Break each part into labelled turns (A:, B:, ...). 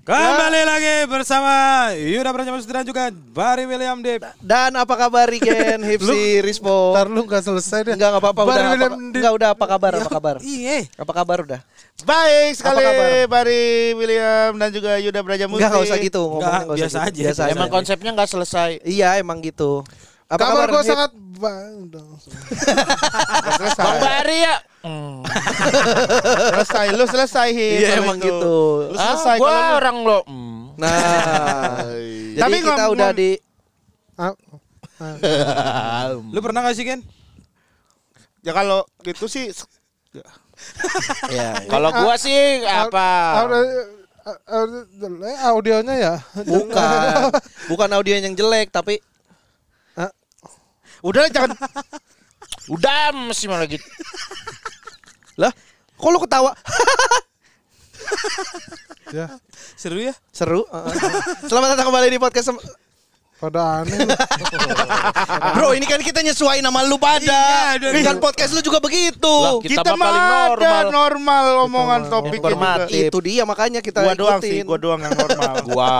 A: Kembali lagi bersama Yuda Pranjama Sudran juga Barry William Dip.
B: Dan apa kabar Rigen, Hipsi, Rispo?
C: Ntar lu gak selesai deh.
B: Enggak enggak apa-apa udah.
C: Barry
B: Apa,
C: William Dip.
B: enggak udah apa kabar? Apa kabar?
A: Iya.
B: Apa kabar udah?
C: Baik sekali
B: Apa kabar?
C: Bari William dan juga Yuda Brajamusti.
B: Enggak enggak usah gitu ngomongnya
A: Enggak,
B: enggak usah
A: biasa
B: gitu.
A: aja.
B: Biasa
A: Emang
B: aja.
D: Emang konsepnya nggak selesai.
B: Iya, emang gitu. Apa
C: kabar gue
B: Hip?
C: sangat ba- udah, udah selesai. Hmm.
D: Bang Bari ya.
C: selesai lu selesai Hip.
B: Iya,
C: Kalau
B: emang
C: itu.
B: gitu.
C: Lu
D: Ah,
C: selesai
D: gua
C: kalau lu.
D: orang lo. Hmm.
B: Nah. jadi
C: Tapi
B: kita
C: ngom-
B: udah
C: ngom-
B: di
C: Ah,
A: Lu pernah gak sih Ken?
C: Ya kalau gitu sih
B: Iya,
D: Kalau gua sih apa?
C: aud- aud- aud- eh, audionya ya.
B: bukan bukan audio yang jelek tapi
C: Udah lah, jangan
D: Udah mesti malah gitu.
B: lah kok lu ketawa
C: ya.
A: Seru ya?
B: seru heeh. selamat datang kembali di podcast Sem-
C: Pada aneh. lu.
B: bro ini kan kita nyesuaiin nama lu pada
A: Iya, aduh,
B: kan
A: aduh.
B: podcast lu juga begitu
D: Lah, Kita
C: Kita
D: mah paling
C: mah ada
D: normal.
C: normal omongan topiknya
D: Hormat.
C: juga.
B: itu dia makanya kita
C: Gua doang sih,
B: ikutin.
C: gua doang yang normal.
D: Gua.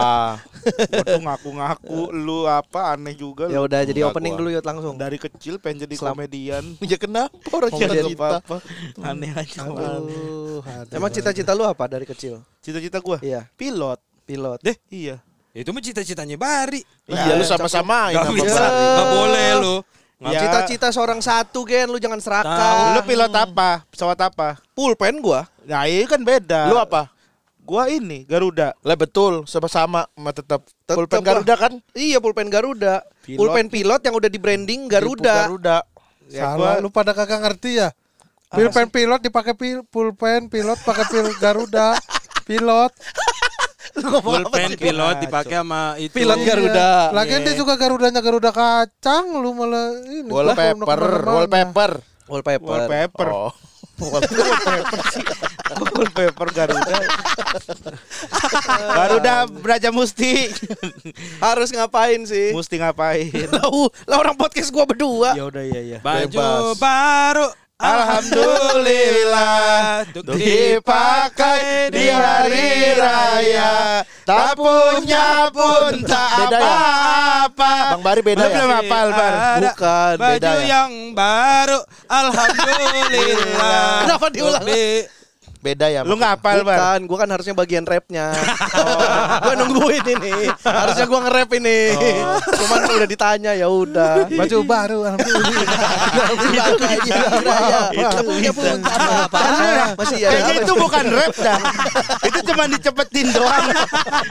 C: Gua tuh ngaku-ngaku lu apa aneh juga lu.
B: Ya udah jadi
D: Enggak,
B: opening
D: gua.
B: dulu yuk langsung.
C: dari kecil pengen jadi
B: Selam-
C: komedian.
D: Ya
B: Iya,
D: kenapa orang
C: Komedian
D: cinta cinta?
C: apa apa.
A: Aneh aja.
B: Aduh, Emang cita-cita lu apa dari kecil?
C: Cita-cita gua
B: Iya,
C: pilot.
B: pilot.
A: Deh.
C: Iya.
A: Itu mah cita-citanya Bari.
D: Iya, lu sama-sama
A: Gak
B: iya.
D: ini
A: bisa.
D: sama Bari.
A: Gak boleh lu.
C: Ya.
B: Cita-cita seorang satu gen, lu jangan
C: Lu
B: serakah. Iya.
C: pilot apa? Pesawat apa?
B: pulpen gua.
C: Nah, itu kan beda.
D: Lu apa?
C: Gua ini Garuda.
D: Lah betul, sama-sama mah tetap.
B: Tetep
D: Pulpen
B: lah.
D: Garuda kan?
B: Iya, pulpen Garuda.
C: Pilot.
B: Pulpen pilot yang udah di branding
D: Tipu
B: Garuda.
D: Garuda.
C: Ya, gua- gua- lu pada kagak ngerti ya? Pulpen pilot dipakai pil, pulpen pilot pakai pil Garuda. Pilot.
B: Lu ngomong apa
A: Pulpen
B: sih?
A: pilot dipakai sama itu.
B: Pilot
C: Iya.
B: Garuda.
C: Lagian dia juga Garudanya Garuda kacang, lu malah ini. Lu
D: Wallpaper,
C: kemana-mana.
D: wallpaper.
B: Wallpaper.
C: Wallpaper.
D: Oh.
C: Wallpaper sih. Wallpaper Garuda. Garuda Braja Musti.
B: Harus ngapain sih?
C: Musti ngapain?
B: Tahu, lah orang podcast gua berdua.
C: Ya udah ya ya.
A: Baju
D: Bebas.
A: baru.
C: Alhamdulillah
A: Untuk
C: dipakai di hari raya Tak punya pun tak
D: Beda ya?
C: apa-apa
D: Bang Bari beda ya?
C: Lu belum hafal Bar
A: Ada
B: Bukan,
A: Baju
D: beda ya?
A: yang baru. Alhamdulillah.
B: Kenapa diulang?
A: Lebih-
D: Beda ya.
C: Lu gak hafal Bar
B: Bukan, gua kan harusnya bagian rapnya. Oh. Gua nungguin ini. Harusnya gua nge-rap ini. Cuman udah ditanya ya udah.
C: Baju baru
B: Masih ya.
C: Kayaknya itu gitu bukan rap dah Itu cuma dicepetin doang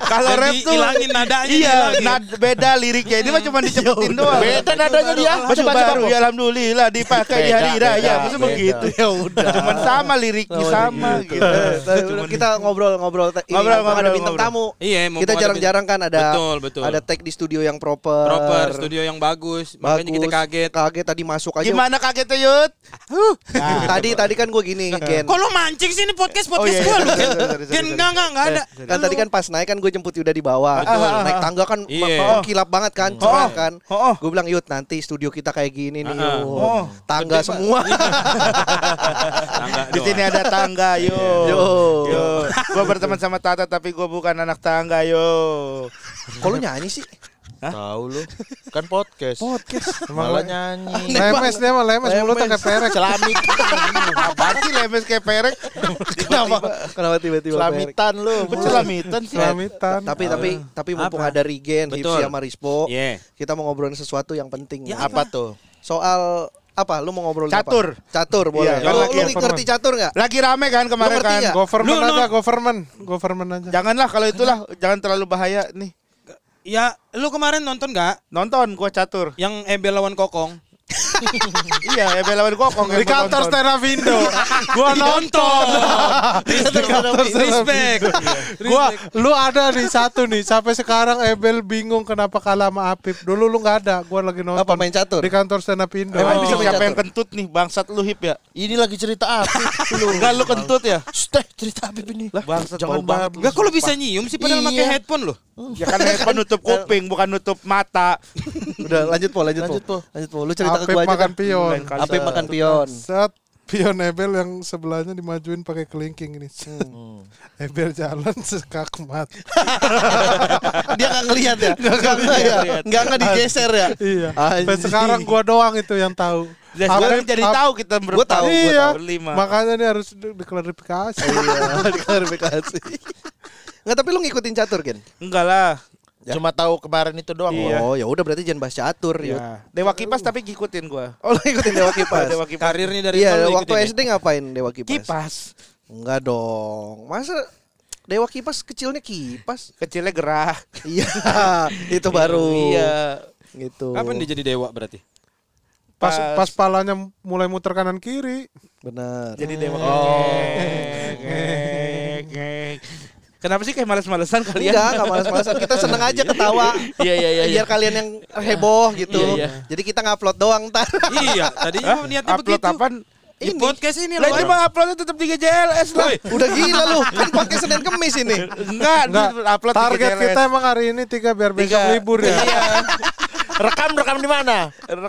C: Kalau
A: Dan
C: rap tuh
A: dihilangin nadanya,
C: Iya
A: dihilangin.
C: nad- beda liriknya Ini mah cuma dicepetin doang
D: Beda nadanya dia.
C: Baju baru ya alhamdulillah dipakai di
D: Beda,
C: hari
D: beda,
C: raya Maksudnya
D: beda.
C: begitu ya udah Cuman sama liriknya sama gitu
B: Eh, kita ngobrol-ngobrol te- ini,
C: Ngobrol,
B: mumpung ada
C: ngobrol,
B: bintang tamu.
C: ngobrol.
A: Iya, mumpung
B: Kita
A: ada
B: jarang-jarang kan ada
A: Betul, betul.
B: ada tag di studio yang proper.
A: proper
C: eh,
A: studio yang bagus. Makanya kita kaget.
C: Kan-
B: Kaget tadi masuk aja.
C: Gimana kagetnya Yud?
B: Nah, tadi tadi kan gue gini, Gen.
A: Kok lu mancing sih ini podcast
C: Oh,
A: podcast
C: iya,
A: gua
C: iya,
A: lu?
C: sorry,
A: Gen?
C: sorry, sorry,
A: Gen
C: sorry. Eh,
A: enggak enggak enggak ada.
B: Kan tadi kan pas naik kan gue jemput Yuda di
C: Ah,
B: bawah.
A: Betul.
B: Naik tangga kan
A: Iya.
B: oh, kilap banget kan, cerah kan.
C: Oh.
B: Gue bilang Yud nanti studio kita kayak gini
A: Ah,
B: nih.
A: ah.
B: Yud.
C: Oh.
B: Tangga semua.
A: Enggak
C: Di sini ada tangga, yo.
B: Yo.
C: Yo. Gua berteman sama Tata tapi gua bukan anak tangga, yo.
B: Kok lu nyanyi sih?
D: Tahu lu. Kan podcast.
B: Podcast.
D: Malah nyanyi.
C: Lemes dia mah lemes mulutnya kayak perek.
D: Celamik.
C: Apaan sih lemes kayak perek? Kenapa?
B: Kenapa tiba-tiba Ferry?
D: Celamitan lu.
C: Kok celamitan sih?
B: Eh, Tapi tapi tapi mumpung ada Rigen,
A: Ah. Betul.
B: Hipsi sama Rispo,
A: Iya. Ya,
B: kita mau ngobrolin sesuatu yang penting. nih.
D: Apa tuh?
B: Soal apa? Lu mau ngobrolin
C: Catur.
B: apa? Catur. boleh.
C: Iya, kan
B: Lu-
C: lagi
B: lu,
C: informan.
B: ngerti catur nggak?
C: Lagi rame kan kemarin
B: Lu ngerti
C: kan?
B: nggak?
C: Government
A: Lu, lu.
C: aja, go- government.
E: government aja.
C: Janganlah kalau itulah jangan terlalu bahaya nih.
A: Ya, Iya, lu kemarin nonton enggak
C: Nonton gua catur.
A: yang Ebel lawan Kokong?
D: iya, ebel-ebel kokong. yang
C: Di
D: gua
C: kantor
D: tonton.
C: stand up Indo. Gua
A: Nonton.
C: di kantor stand up
A: Respect.
C: Gua lu ada nih satu nih sampai sekarang Ebel bingung kenapa kalah sama Apip. Dulu lu nggak ada, gua lagi nonton.
B: Apa main catur?
C: Di kantor stand up Indo.
D: Emang
B: Oh.
D: Kan bisa siapa
B: Catur.
D: yang kentut nih bangsat lu hip ya? Ini lagi cerita apa? lu enggak lu kentut ya? Steh cerita apa ini? Lah,
B: Bangsat, bau
D: jangan banget.
B: banget.
A: Enggak kok lu bisa nyium sih padahal pakai
D: Iya.
A: headphone loh.
D: Ya kan headphone nutup kuping bukan nutup mata.
B: Udah lanjut po, lanjut,
D: Lanjut,
B: po.
D: Po.
B: Lanjut po. Lu cerita ke
C: Apip
B: gua aja. kan?
C: makan pion.
D: Lain kali.
B: Apa makan pion?
C: Set pion Ebel yang sebelahnya dimajuin pakai kelingking ini.
B: Hmm.
C: Ebel jalan sekakmat.
B: Dia nggak ngelihat ya? Nggak ngelihat. Nggak nggak digeser ya?
C: Iya. Sampai
B: Anjing.
C: sekarang gua doang itu yang tahu.
D: Dan sekarang jadi
C: Apip-
D: tahu kita berempat.
B: tahu, gua
C: Iya.
D: tahu. Berlima.
C: Makanya ini harus di- diklarifikasi.
B: Iya, diklarifikasi. Nggak tapi lu ngikutin catur kan?
D: Enggak lah. Cuma tahu kemarin itu doang. gua.
B: Oh, ya udah berarti jangan bahas catur ya.
D: Dewa kipas tapi ngikutin gua.
B: Oh, lu ngikutin Dewa Kipas.
D: Dewa kipas.
A: Karirnya dari nol
B: Iya,
A: lu
B: waktu
A: ikutin ya?
B: SD ngapain Dewa Kipas?
D: Kipas.
B: Enggak dong. Masa Dewa Kipas kecilnya kipas?
D: Kecilnya gerah.
B: Iya, itu baru.
D: Iya.
B: Gitu.
A: Kapan dia jadi dewa berarti?
C: Pas
D: Pas-
C: pas palanya mulai muter kanan kiri.
B: Benar.
D: Jadi dewa. Oh. Kenapa sih kayak males-malesan kalian?
B: Enggak, enggak malas-malasan. Kita seneng aja ketawa.
D: Iya, iya, iya,
B: Biar
D: iya.
B: kalian yang heboh gitu.
D: Iya, iya.
B: Jadi kita ngupload doang ntar.
A: iya, tadinya
D: Hah?
A: niatnya
D: Upload
A: begitu. Eh,
D: apaan?
A: Di
B: Ini.
A: podcast ini
D: Lah Ya, ini mah uploadnya tetap 3 JLS lah.
A: Woi,
B: Udah gila lu, kan pakai Senin Kemis ini.
D: Enggak,
C: Enggak.
D: di- upload tiga
C: Target
D: JLS.
C: kita emang hari ini tiga biar besok
D: Tiga.
C: libur ya.
D: Iya. rekam rekam di mana?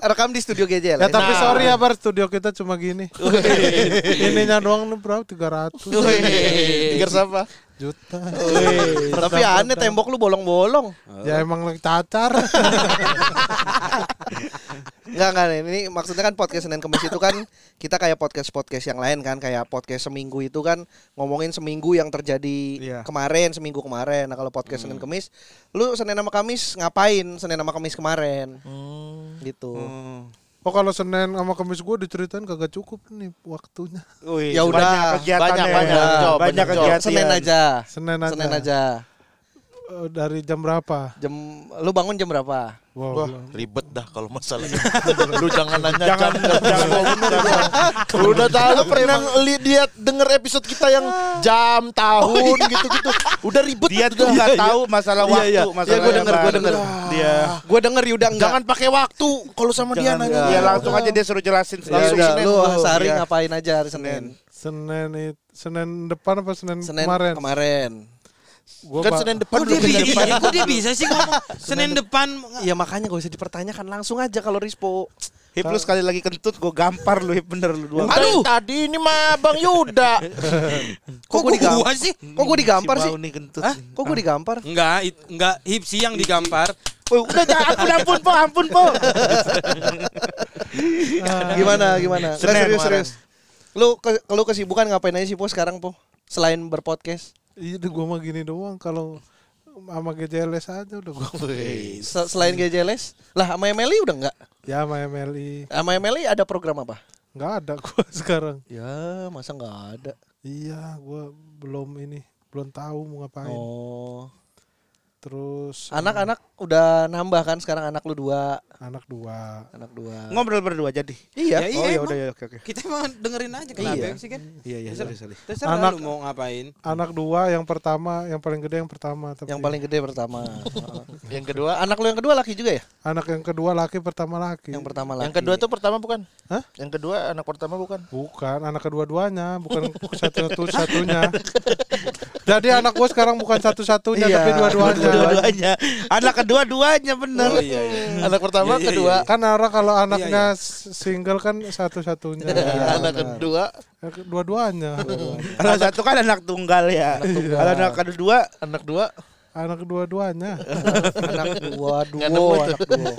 B: Rekam di studio GJL.
C: Ya tapi
D: Nah.
C: sorry ya Bar, studio kita cuma gini. Ininya doang nih bro, 300
D: Tiga siapa?
C: juta.
B: tapi aneh tembok lu bolong-bolong.
C: Ya emang lagi cacar.
B: Enggak enggak ini maksudnya kan podcast Senin Kemis itu kan kita kayak podcast-podcast yang lain kan kayak podcast seminggu itu kan ngomongin seminggu yang terjadi
D: Iya.
B: kemarin seminggu kemarin. Nah, kalau podcast Senin Kemis lu Senin sama Kamis ngapain Senin sama Kamis kemarin? Gitu.
C: Oh kalau Senin sama Kamis gue diceritain kagak cukup nih waktunya.
D: Wih,
B: Ya udah.
D: banyak kegiatan
B: Banyak,
D: ya.
B: banyak.
D: Banyak,
B: Job,
D: banyak
B: Job.
D: kegiatan.
B: Senin
E: Iya.
B: aja.
C: Senin aja.
B: Senin aja.
C: Eh, dari jam berapa?
B: Jam lu bangun jam berapa?
C: Wow.
D: Wah,
C: belum.
D: ribet dah kalau masalah itu. Lu jangan nanya
E: Jangan, jangan.
D: Udah tahu lu pernah li- dia denger episode kita yang jam tahun gitu-gitu. Udah ribet dia tuh enggak tahu masalah
B: Iya, iya. Iya, gua denger, gua denger. Iya.
D: Dia
B: Gua denger Yuda enggak.
E: Jangan pakai waktu kalau sama dia
D: Jangan,
E: nanya.
B: Iya.
D: ya, langsung aja dia suruh jelasin
B: Langsung
D: Iya,
B: Senin lu
D: iya.
B: sehari
D: Iya.
B: ngapain aja hari Senin?
C: Senin it- Senin depan apa Senin,
B: Senin
C: kemarin?
B: kemarin.
C: Gua
D: Kan
C: ba-
D: Senin depan
A: Kok dia
D: udah
A: bisa,
D: depan.
A: kok dia bisa sih ngomong Senin depan
B: Ya makanya gak usah dipertanyakan langsung aja kalau Rispo.
D: Hip lu sekali lagi kentut gue gampar lu hip bener lu dua.
E: Udah, tadi ini mah Bang
B: Kok
E: Yuda.
A: kok
B: gue
A: gua
B: digampar?
A: sih?
B: Kok gue digampar
D: Si
B: sih?
D: bau nih kentut.
A: Hah?
D: nih.
B: Kok gue digampar?
A: Enggak, it- enggak hipsi yang digampar.
D: Woi, udah jangan ampun ampun po ampun po.
B: Gimana gimana? Nggak,
D: Senin
B: serius
D: kemarin.
B: serius. Lu ke, lu kesibukan ngapain aja sih Po sekarang Po? Selain berpodcast.
C: Iya, udah gua mah gini doang kalau sama GJLS aja udah gua.
B: Se- Selain GJLS? Lah sama Emily udah enggak?
C: ya sama MLI.
B: Sama Emily ada program apa?
C: Enggak ada gua sekarang.
B: Ya, masa enggak ada.
C: Iya, gua belum ini, belum tahu mau ngapain.
B: Oh.
C: Terus
B: Anak-anak udah nambah kan sekarang anak lu dua,
C: anak dua.
B: anak dua.
D: Ngobrol berdua jadi.
B: Iya.
A: Ya,
D: Oh ya
A: emang.
D: udah ya oke oke.
A: Kita mau dengerin aja kenapa
B: Iya.
A: sih kan?
D: Iya iya sorry sorry.
A: Terserah
C: Anak-
A: lu mau ngapain.
C: Anak dua yang pertama, yang paling gede yang pertama tapi
B: Yang paling gede pertama. Heeh.
E: Yang kedua,
B: anak lu yang kedua laki juga ya?
C: anak yang kedua laki pertama laki.
B: Yang pertama laki.
E: yang kedua tuh pertama bukan?
C: Hah?
E: Yang kedua anak pertama bukan?
C: Bukan anak kedua-duanya, bukan satu-satunya. Jadi anak gue sekarang bukan satu-satunya
B: Iya,
C: tapi dua-duanya.
D: Dua-duanya. Anak kedua-duanya bener.
A: Oh iya iya.
E: Anak pertama,
A: Iya, iya,
E: kedua.
C: Kan orang kalau
B: Iya,
C: anaknya s- single kan satu-satunya.
B: iya.
E: anak kedua,
C: Dua-duanya.
D: Kalau satu kan anak tunggal ya. Kalau anak kedua
B: iya.
E: anak dua.
C: anak dua-duanya.
B: anak dua duo
E: Nggak nemu itu.
B: anak duo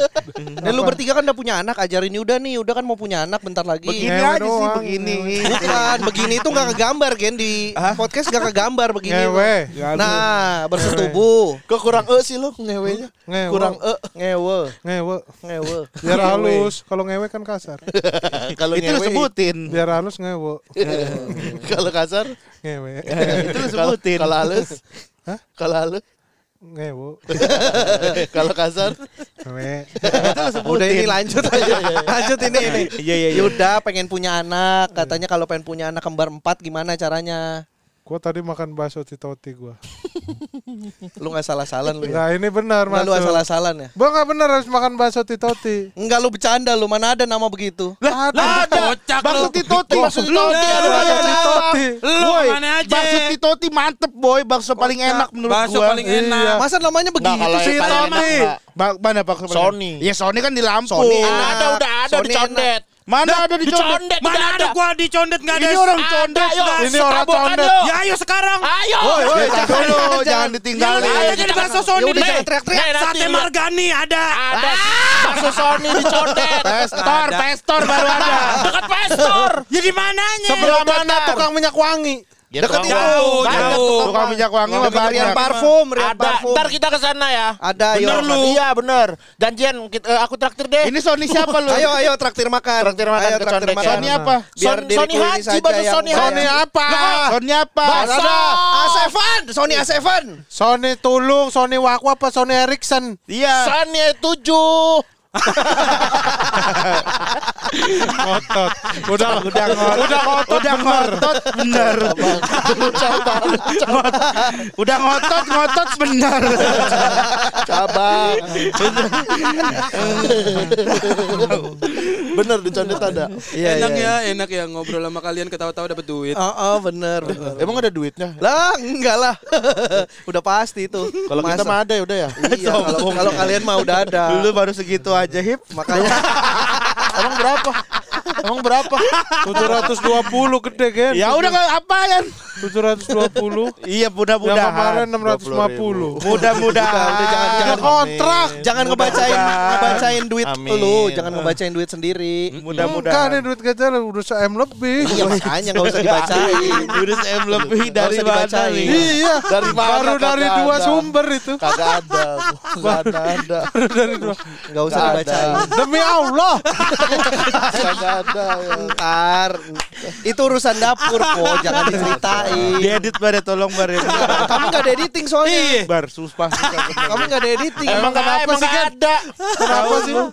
B: eh lu bertiga kan udah punya anak ajarin Yuda nih Yuda kan mau punya anak bentar lagi
D: begini
C: ngewe
D: aja sih
C: doang,
D: begini.
B: Bukan, begini itu nggak kegambar Gen di podcast nggak kegambar begini
C: Ngewe. Ya.
B: nah bersetubuh
E: Kok kurang e sih lu ngewenya?
C: Ngewe.
E: Kurang e.
B: ngewe
C: Ngewe.
B: eh. ngewe
C: Biar halus. Kalau ngewe kan kasar.
E: Kalau
D: Itu lu
E: ngewe,
D: sebutin.
C: Biar halus ngewe.
E: Kalau kasar,
C: Ngewe.
D: Eh. Itu lu
E: kalau
D: sebutin.
E: kalau halus. Hah? Kalau halus
C: ngewo.
D: Kalau kasar
C: Ngewe.
B: Udah ini lanjut aja. lanjut ini ini.
A: Iya, iya, iya.
B: Yuda pengen punya anak, katanya kalau pengen punya anak kembar empat gimana caranya?
C: Gua tadi makan bakso titoti gua.
B: Lu nggak salah-salan lu ya.
C: Nah, ini benar
B: Nggak lu
C: masuk.
B: asal-asalan ya.
C: Gua nggak benar harus makan bakso titoti.
B: Enggak lu bercanda lu, mana ada nama begitu.
A: Lah, lah, kocak lu.
D: Bakso Titoti, bakso Titoti,
A: Lah,
D: aduh
A: lah,
D: ada
A: lah.
D: Titoti.
A: Lu
D: Boy,
A: mana aja?
D: Bakso Titoti mantep boy, bakso paling enak menurut
A: Bakso
D: gua. Iya.
A: paling enak.
B: Nah. Masa namanya begitu
D: kalau
B: sih?
D: yang paling
B: Tama?
D: enak. Enggak.
E: Ba- Mana Pak?
D: Iya, Sony.
E: Ya Sony kan di Lampung.
B: Sony
D: Mana
B: enak.
D: ada udah ada
B: Sony
D: di condet.
E: Mana ada di
D: Dicondet,
E: Condet?
D: nggak
A: Mana ada gua dicondet nggak ada.
E: Ini orang
A: Ada,
E: condet,
A: nggak ada.
E: ini orang
D: Setabokan
E: condet.
D: yuk.
A: Ya ayo sekarang.
D: Ayo.
E: Woi, woi,
D: Jangan,
E: jangan dulu,
D: jangan.
E: jangan
A: Yang
E: ditinggalin.
A: ada jadi bakso Sony.
B: udah,
A: Nih,
B: jangan teriak-teriak.
A: nih, Sate
D: Nanti-
A: Margani ada.
D: Ada bakso Sony di condet.
E: Pestor,
A: Ada.
E: pestor baru ada.
D: Dekat pastor.
A: Ya di mananya?
D: Iya,
C: Sebelah mana tukang minyak wangi?
D: Dekat
A: itu. Jauh, jauh.
E: Tukang minyak wangi mah
B: Ada Rian
E: banyak.
B: Parfum, Rian
D: Ada.
B: Parfum.
D: Ntar kita ke sana ya.
B: Ada yo.
D: Bener lu. Iya bener. Janjian kita- eh, aku traktir deh.
E: Ini Sony siapa lu?
B: Ayo ayo traktir makan.
D: Traktir makan
B: ayo,
D: ke
B: traktir
D: Condet.
B: makan.
E: Sony apa?
B: Biar
D: Son-
B: diri
D: Sony
B: kulinis
D: Haji,
B: aja
D: baju
B: yang
D: Sony
B: bayar.
D: Haji.
E: Sony apa? Ah, Sony apa?
D: Bakso.
E: Ada.
B: A7, Sony
D: Iya.
B: A7.
C: Sony Tulung, Sony Wakwa apa Sony Ericsson?
E: Iya.
D: Sony tujuh.
C: Ngotot. Udah udah ngotot.
E: Udah ngotot, udah ngotot, bener. Ngotot. Udah ngotot, ngotot, bener.
D: Cabang. Bener di condet ada.
B: Iya,
A: enak
B: iya.
A: ya, enak ya ngobrol sama kalian ketawa-tawa dapat duit.
D: Ah,
B: Oh, oh, bener. bener.
D: Emang ada duitnya?
B: Lah, enggak lah. udah pasti itu.
D: Kalau kita mah ada ya udah ya.
B: Iya, kalau kalau kalian mau udah ada.
E: Lu baru segitu aja, Hip.
B: Makanya
D: Emang berapa? Emang berapa?
C: 720 gede kan?
E: Ya udah kalau apa kan?
C: 720.
E: Iya,
C: Yang kemarin
E: mudah-mudahan.
C: 650.
E: Mudah-mudahan.
B: Udah, udah, jangan, jangan.
C: Kontrak.
B: jangan ngebacain ngebacain duit
D: Amin.
B: lu, jangan ngebacain duit sendiri.
C: Enggak nih
E: Mudah-mudahan.
C: duit gajian udah se M lebih.
B: Iya, makanya enggak usah dibacain.
E: Udah M lebih
B: Nggak
E: dari
B: usah
E: mana
B: dibacain.
E: nih?
C: Iya.
D: Dari mana
C: Baru
D: kagak
C: dari dua
D: ada.
C: sumber itu.
D: Kagak ada. Kagak ada.
B: Enggak usah
D: Nggak ada.
B: dibacain.
C: Demi Allah.
D: Kagak ada. ya.
B: Ntar itu urusan dapur kok, jangan diceritain.
E: Diedit bare tolong bare.
B: Kamu enggak ada editing soalnya.
E: Bar susah.
B: Kamu enggak ada editing.
D: Emang kenapa sih kan? ada.
E: Kenapa sih lu?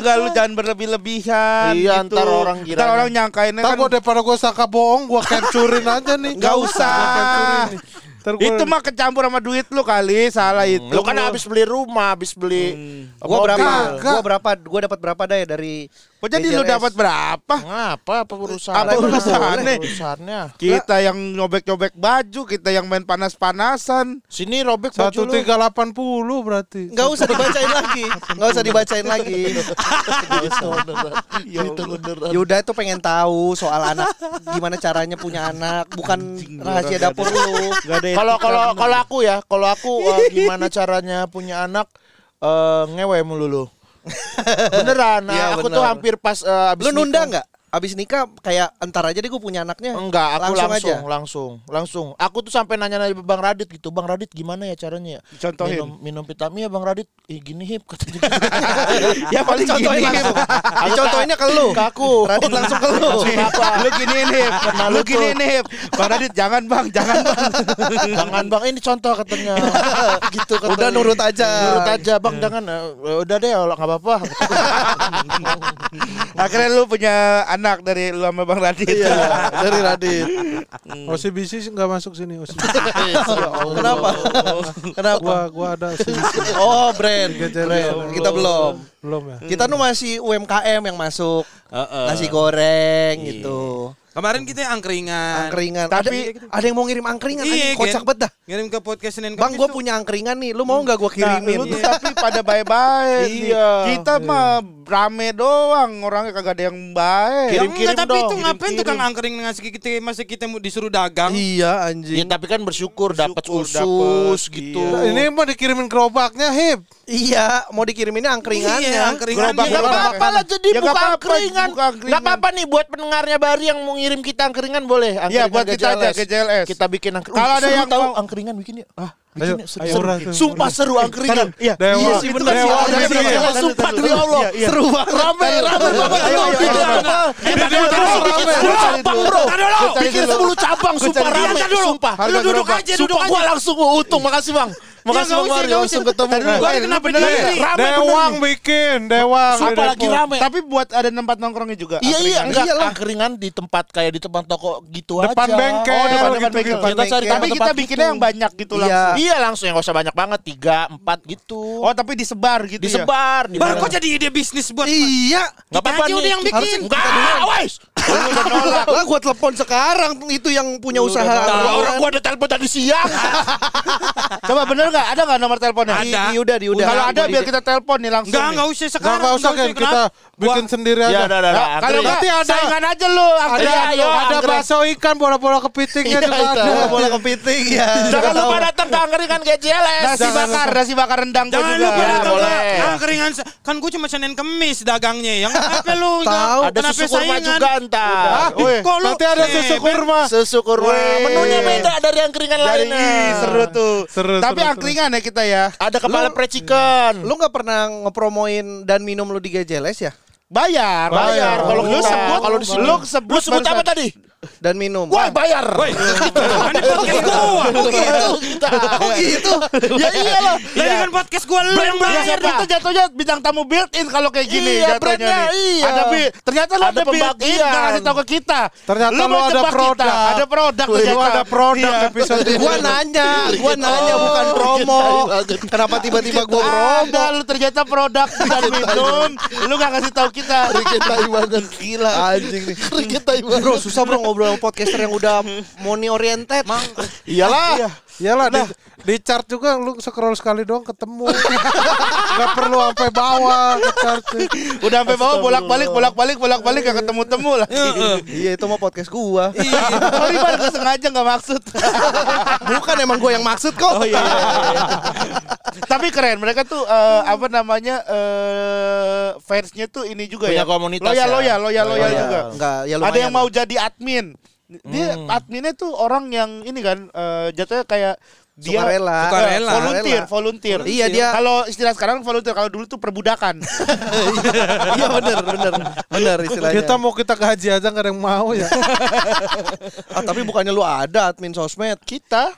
E: Enggak lu jangan berlebih-lebihan.
D: Iya,
E: gitu.
D: ntar orang kira.
E: Ntar orang nyangkainnya
C: Ntar
E: kan
C: gue daripada gue saka bohong, gue capturein aja nih.
E: Nggak usah.
C: Gua capturein nih. Ntar gua-
E: itu mah kecampur sama duit lu kali, salah itu.
D: Lu kan habis beli rumah, habis beli
B: Gua berapa?
C: Kagak.
B: Gua berapa? Gua dapat berapa dah ya dari
E: Kok jadi lu
B: DJLS?
E: dapat berapa?
D: Ngapa apa urusan?
E: Apa urusannya?
D: Urusannya.
E: Kita yang nyobek-nyobek baju, kita yang main panas-panasan.
D: Sini robek baju lu.
C: 1380 berarti.
B: Enggak usah dibacain lagi. Enggak usah dibacain lagi.
D: Itu beneran. Itu beneran.
B: Yuda Ya itu pengen tahu soal anak gimana caranya punya anak, bukan rahasia dapur lu.
E: Gak ada
D: Ah, Kalau kalau kalau aku ya, kalau aku eh, gimana caranya punya anak eh, ngewe mulu lu. Beneran, nah,
B: Iya,
D: aku
B: bener.
D: tuh hampir pas eh, abis
B: Lu nunda
D: nikah.
B: nggak? Abis nikah kayak entar aja deh gue punya anaknya.
D: Enggak, aku
B: Langsung
D: langsung,
B: aja?
D: langsung, langsung, Aku tuh sampai nanya-nanya Bang Radit gitu, Bang Radit gimana ya caranya ya?
E: Contohin.
D: Minum, minum vitamin ya Bang Radit, Ih, gini hip kata dia.
E: ya paling
B: Dicontohin
E: gini.
B: langsung.
D: Aku-
B: Dicontohinnya ke lu. Gitu
D: Ke aku.
B: Radit langsung ke lu.
D: Kenapa?
E: Lu giniin hip,
D: Kenal
E: lu
D: lu tuh.
E: giniin hip. Bang Radit jangan bang, jangan bang.
D: Jangan Bang, ini contoh katanya. gitu katanya.
B: Udah nurut aja. Nah, ya
D: Nurut aja Bang, jangan eh, udah deh kalau nggak apa-apa.
E: Akhirnya lu punya anak dari lu sama Bang Radit.
D: dari Radit.
C: Hmm. OCBC nggak masuk sini. OCBC.
B: Kenapa? Kenapa?
C: gua gua ada OCBC.
B: Oh, brand.
C: Jajanan.
B: Brand. Kita belum.
C: Belum ya.
B: Kita nu masih UMKM yang masuk.
A: Heeh.
B: Nasi goreng gitu.
A: Kemarin kita angkringan.
B: Angkringan.
A: Tapi-
B: ada, ada yang gitu? mau ngirim angkringan
A: Iya,
B: anjing, kocak
A: Gen.
B: banget dah.
A: Ngirim ke podcast Senin
B: Bang,
A: Kamis
B: gue
A: tuh.
B: punya angkringan nih. Lu mau nggak gue
E: Nah, lu
B: kirimin?
E: tuh tapi pada baik-baik. nih.
D: Iya.
E: Kita mah rame doang, orangnya kagak ada yang
A: Ya
E: baik.
D: Kirim-kirim
A: enggak, tapi
D: dong,
A: itu ngapain
D: kirim-kirim.
A: tukang angkring ngasih kita masih kita mau disuruh dagang.
B: Iya,
D: Ya,
B: anjing.
D: tapi kan bersyukur dapat
E: Bersyukur,
D: usus
E: dapet,
D: gitu.
C: Nah,
E: iya.
C: ini mah dikirimin gerobaknya hip.
B: Iya, mau dikiriminnya
A: Iya,
B: angkringannya.
A: angkringannya.
E: Gerobak-
D: Gak
E: gerobak.
D: apa-apa lah jadi
E: Ya,
D: buka
E: nggak apa-apa,
D: angkringan.
E: buka angkringan.
D: Gak apa-apa nih buat pendengarnya Bari yang mau ngirim kita angkringan boleh.
E: Iya,
D: Angkringan
E: buat kita aja
D: GJLS.
E: GJLS.
D: Kita bikin angkringan.
E: Kalau ada yang
D: tahu
E: mau-
D: angkringan bikin ya. Ah,
C: Ayo,
D: Bikin seru-
C: ayo,
D: seru.
C: orang tuh.
D: Sumpah seru angkringan. Iya,
C: Dewa.
D: iya sih benar sih.
C: Dewa,
D: Iya,
C: dewa,
D: benar.
C: dewa.
D: Sumpah demi Allah. Seru banget. Rame, rame, rame.
E: Ayo, ayo,
D: Bikin
E: ayo,
D: apa? Bikin
E: dulu,
D: terus,
E: dulu,
D: bikin
E: rame.
D: sepuluh
E: Gua cari
D: cabang,
E: dulu.
D: bro.
E: Gua cari
D: Bikin
E: dulu.
D: 10 cabang, sumpah
E: cari
D: rame.
E: dulu.
D: Sumpah.
E: Lu
D: Harga
E: duduk
D: berapa?
E: aja,
D: Sumpah,
E: duduk
D: gua langsung untung. Makasih, Bang.
A: nggak
D: Makasih, Bang
A: usah,
D: Mario.
A: nggak
D: Langsung
A: usah.
D: ketemu.
A: Tadi dulu gua kenapa berdiri?
D: Rame bener
C: Dewang
D: nih.
C: bikin, Dewang.
D: Apa
C: di
D: lagi
C: Depok.
D: rame?
E: Tapi buat ada tempat nongkrongnya juga.
D: Iya iya
E: angkringan.
D: enggak
B: Iyalah.
D: angkringan di tempat kayak di depan toko gitu aja.
C: Depan bengkel,
D: Oh, depan, depan
C: gitu,
D: bengkel.
C: gitu.
D: Kita cari
B: Bengkel.
E: Tapi kita bikinnya yang banyak gitu
B: Iya.
E: langsung.
B: banyak.
D: Iya langsung yang gak usah banyak banget tiga empat gitu.
E: Oh tapi disebar gitu ya.
D: disebar. di
A: Bar,
D: mana-
A: kok jadi ide bisnis buat
B: Iya.
D: Nggak apa-apa
A: aja
D: nih.
A: udah yang bikin.
D: Enggak, wais. Lu udah nolak.
B: Lah gua telepon sekarang itu yang punya usaha.
D: Tahu
B: angkringan.
D: orang gua ada telepon tadi siang.
E: Coba bener gak? Ada gak nomor teleponnya?
A: Ada.
E: Di- di-
B: udah, di udah.
E: Kalau ada biar kita telepon nih langsung.
A: Enggak,
E: nih.
A: enggak usah
C: Nggak
A: sekarang.
C: nggak usah
A: nggak
C: kan kita
A: Kenapa?
C: bikin sendiri
D: Ya,
C: aja.
D: udah, udah, udah.
E: Kalau
D: angkringan.
E: enggak,
C: Nanti ada.
E: saingan aja lu.
C: Ada,
E: angkringan.
D: ayo,
C: ada
D: angkring.
C: bakso ikan, bola-bola kepitingnya
D: Iya,
C: juga
D: itu.
C: ada.
B: bola kepiting ya.
D: Jangan lupa datang ke angkringan kayak GLS.
E: Nasi
C: Jangan
E: bakar, nasi bakar rendang gua
A: Jangan
E: juga.
A: lupa ya, datang ke
D: boleh.
A: angkringan. se- Kan gue cuma Senin Kemis dagangnya. Yang kenapa lu?
B: Tahu.
D: Ada
A: Kenapa
D: susu kurma
A: saingan?
D: juga entar.
C: Ah,
D: Weh,
A: Kok lu?
C: Nanti ada
A: Eh,
C: susu kurma.
D: Susu kurma.
E: Weh.
D: Menunya beda dari angkringan
E: Dari
D: lainnya.
E: Ih, seru tuh.
C: Seru,
E: Tapi
C: seru,
E: angkringan ya kita ya.
D: Ada kepala pre chicken.
B: Lu nggak pernah ngepromoin dan minum lu di GJLS ya?
C: Bayar.
E: Bayar, bayar. Kalau
C: Lu
E: lu
D: sebut-
E: sebut, kalau di
D: lu
E: lu sebut,
D: Lu sebut apa
E: barusan.
D: tadi?
B: Dan minum.
D: Woi bayar.
A: Woi, kan ini podcast gua.
D: Kok gitu? Kok gitu? Ya iyalah.
A: Lah ini kan podcast gua lu yang
E: Iya.
A: bayar.
E: Bayar itu jatuhnya bintang tamu built in kalau kayak gini
D: Iya,
E: jatuhnya
D: brandnya, iya.
E: Ada bi- ternyata lu
D: Ada
E: ada, built in
D: pembagian.
E: nggak ngasih tahu ke kita.
C: Ternyata
E: lu,
C: lu
E: mau
C: ada
E: jebak
C: produk.
E: Kita. Ada produk
C: Lu
E: ternyata.
C: ada produk
E: Iya.
C: episode ini.
B: Gua nanya, gua nanya bukan promo.
D: iya,
B: Kenapa tiba-tiba gua promo?
E: Ada lu ternyata produk dan minum. Lu gak ngasih tahu kita.
D: Kriket tai banget.
B: Gila anjing nih.
D: Kriket tai banget.
B: Bro, susah bro ngobrol sama podcaster yang udah money oriented. Mang,
E: Iya.
D: Iyalah.
C: Iyalah di, di chart juga lu scroll sekali doang ketemu. Gak perlu sampai bawah ke chart.
E: Udah sampai bawah bolak-balik bolak-balik bolak-balik gak ketemu-temu lah.
A: Heeh.
B: iya itu mah podcast gua.
E: Iya. Sorry Bar, gak sengaja gak maksud.
B: Bukan emang gua yang maksud kok.
E: iya, Tapi keren, mereka tuh eh, apa namanya eh fansnya tuh ini juga
D: Punya
E: ya.
D: komunitas ya.
E: loyal, loyal, loyal, loyal,
D: Loyal.
E: juga.
B: Enggak, ya lumayan.
E: Ada yang mau jadi admin. Dia
D: Hmm.
E: adminnya tuh orang yang ini kan eh, jatuhnya kayak dia
B: Sukarela.
E: Eh,
A: Sukarela.
E: volunteer,
B: Sukarela.
E: volunteer.
B: Iya, dia-
E: Kalau istilah sekarang volunteer, kalau dulu tuh perbudakan.
B: Iya bener, bener. Bener istilahnya.
C: Kita mau kita gaji aja gak ada yang mau ya.
B: Ah, tapi bukannya lu ada admin sosmed.
E: kita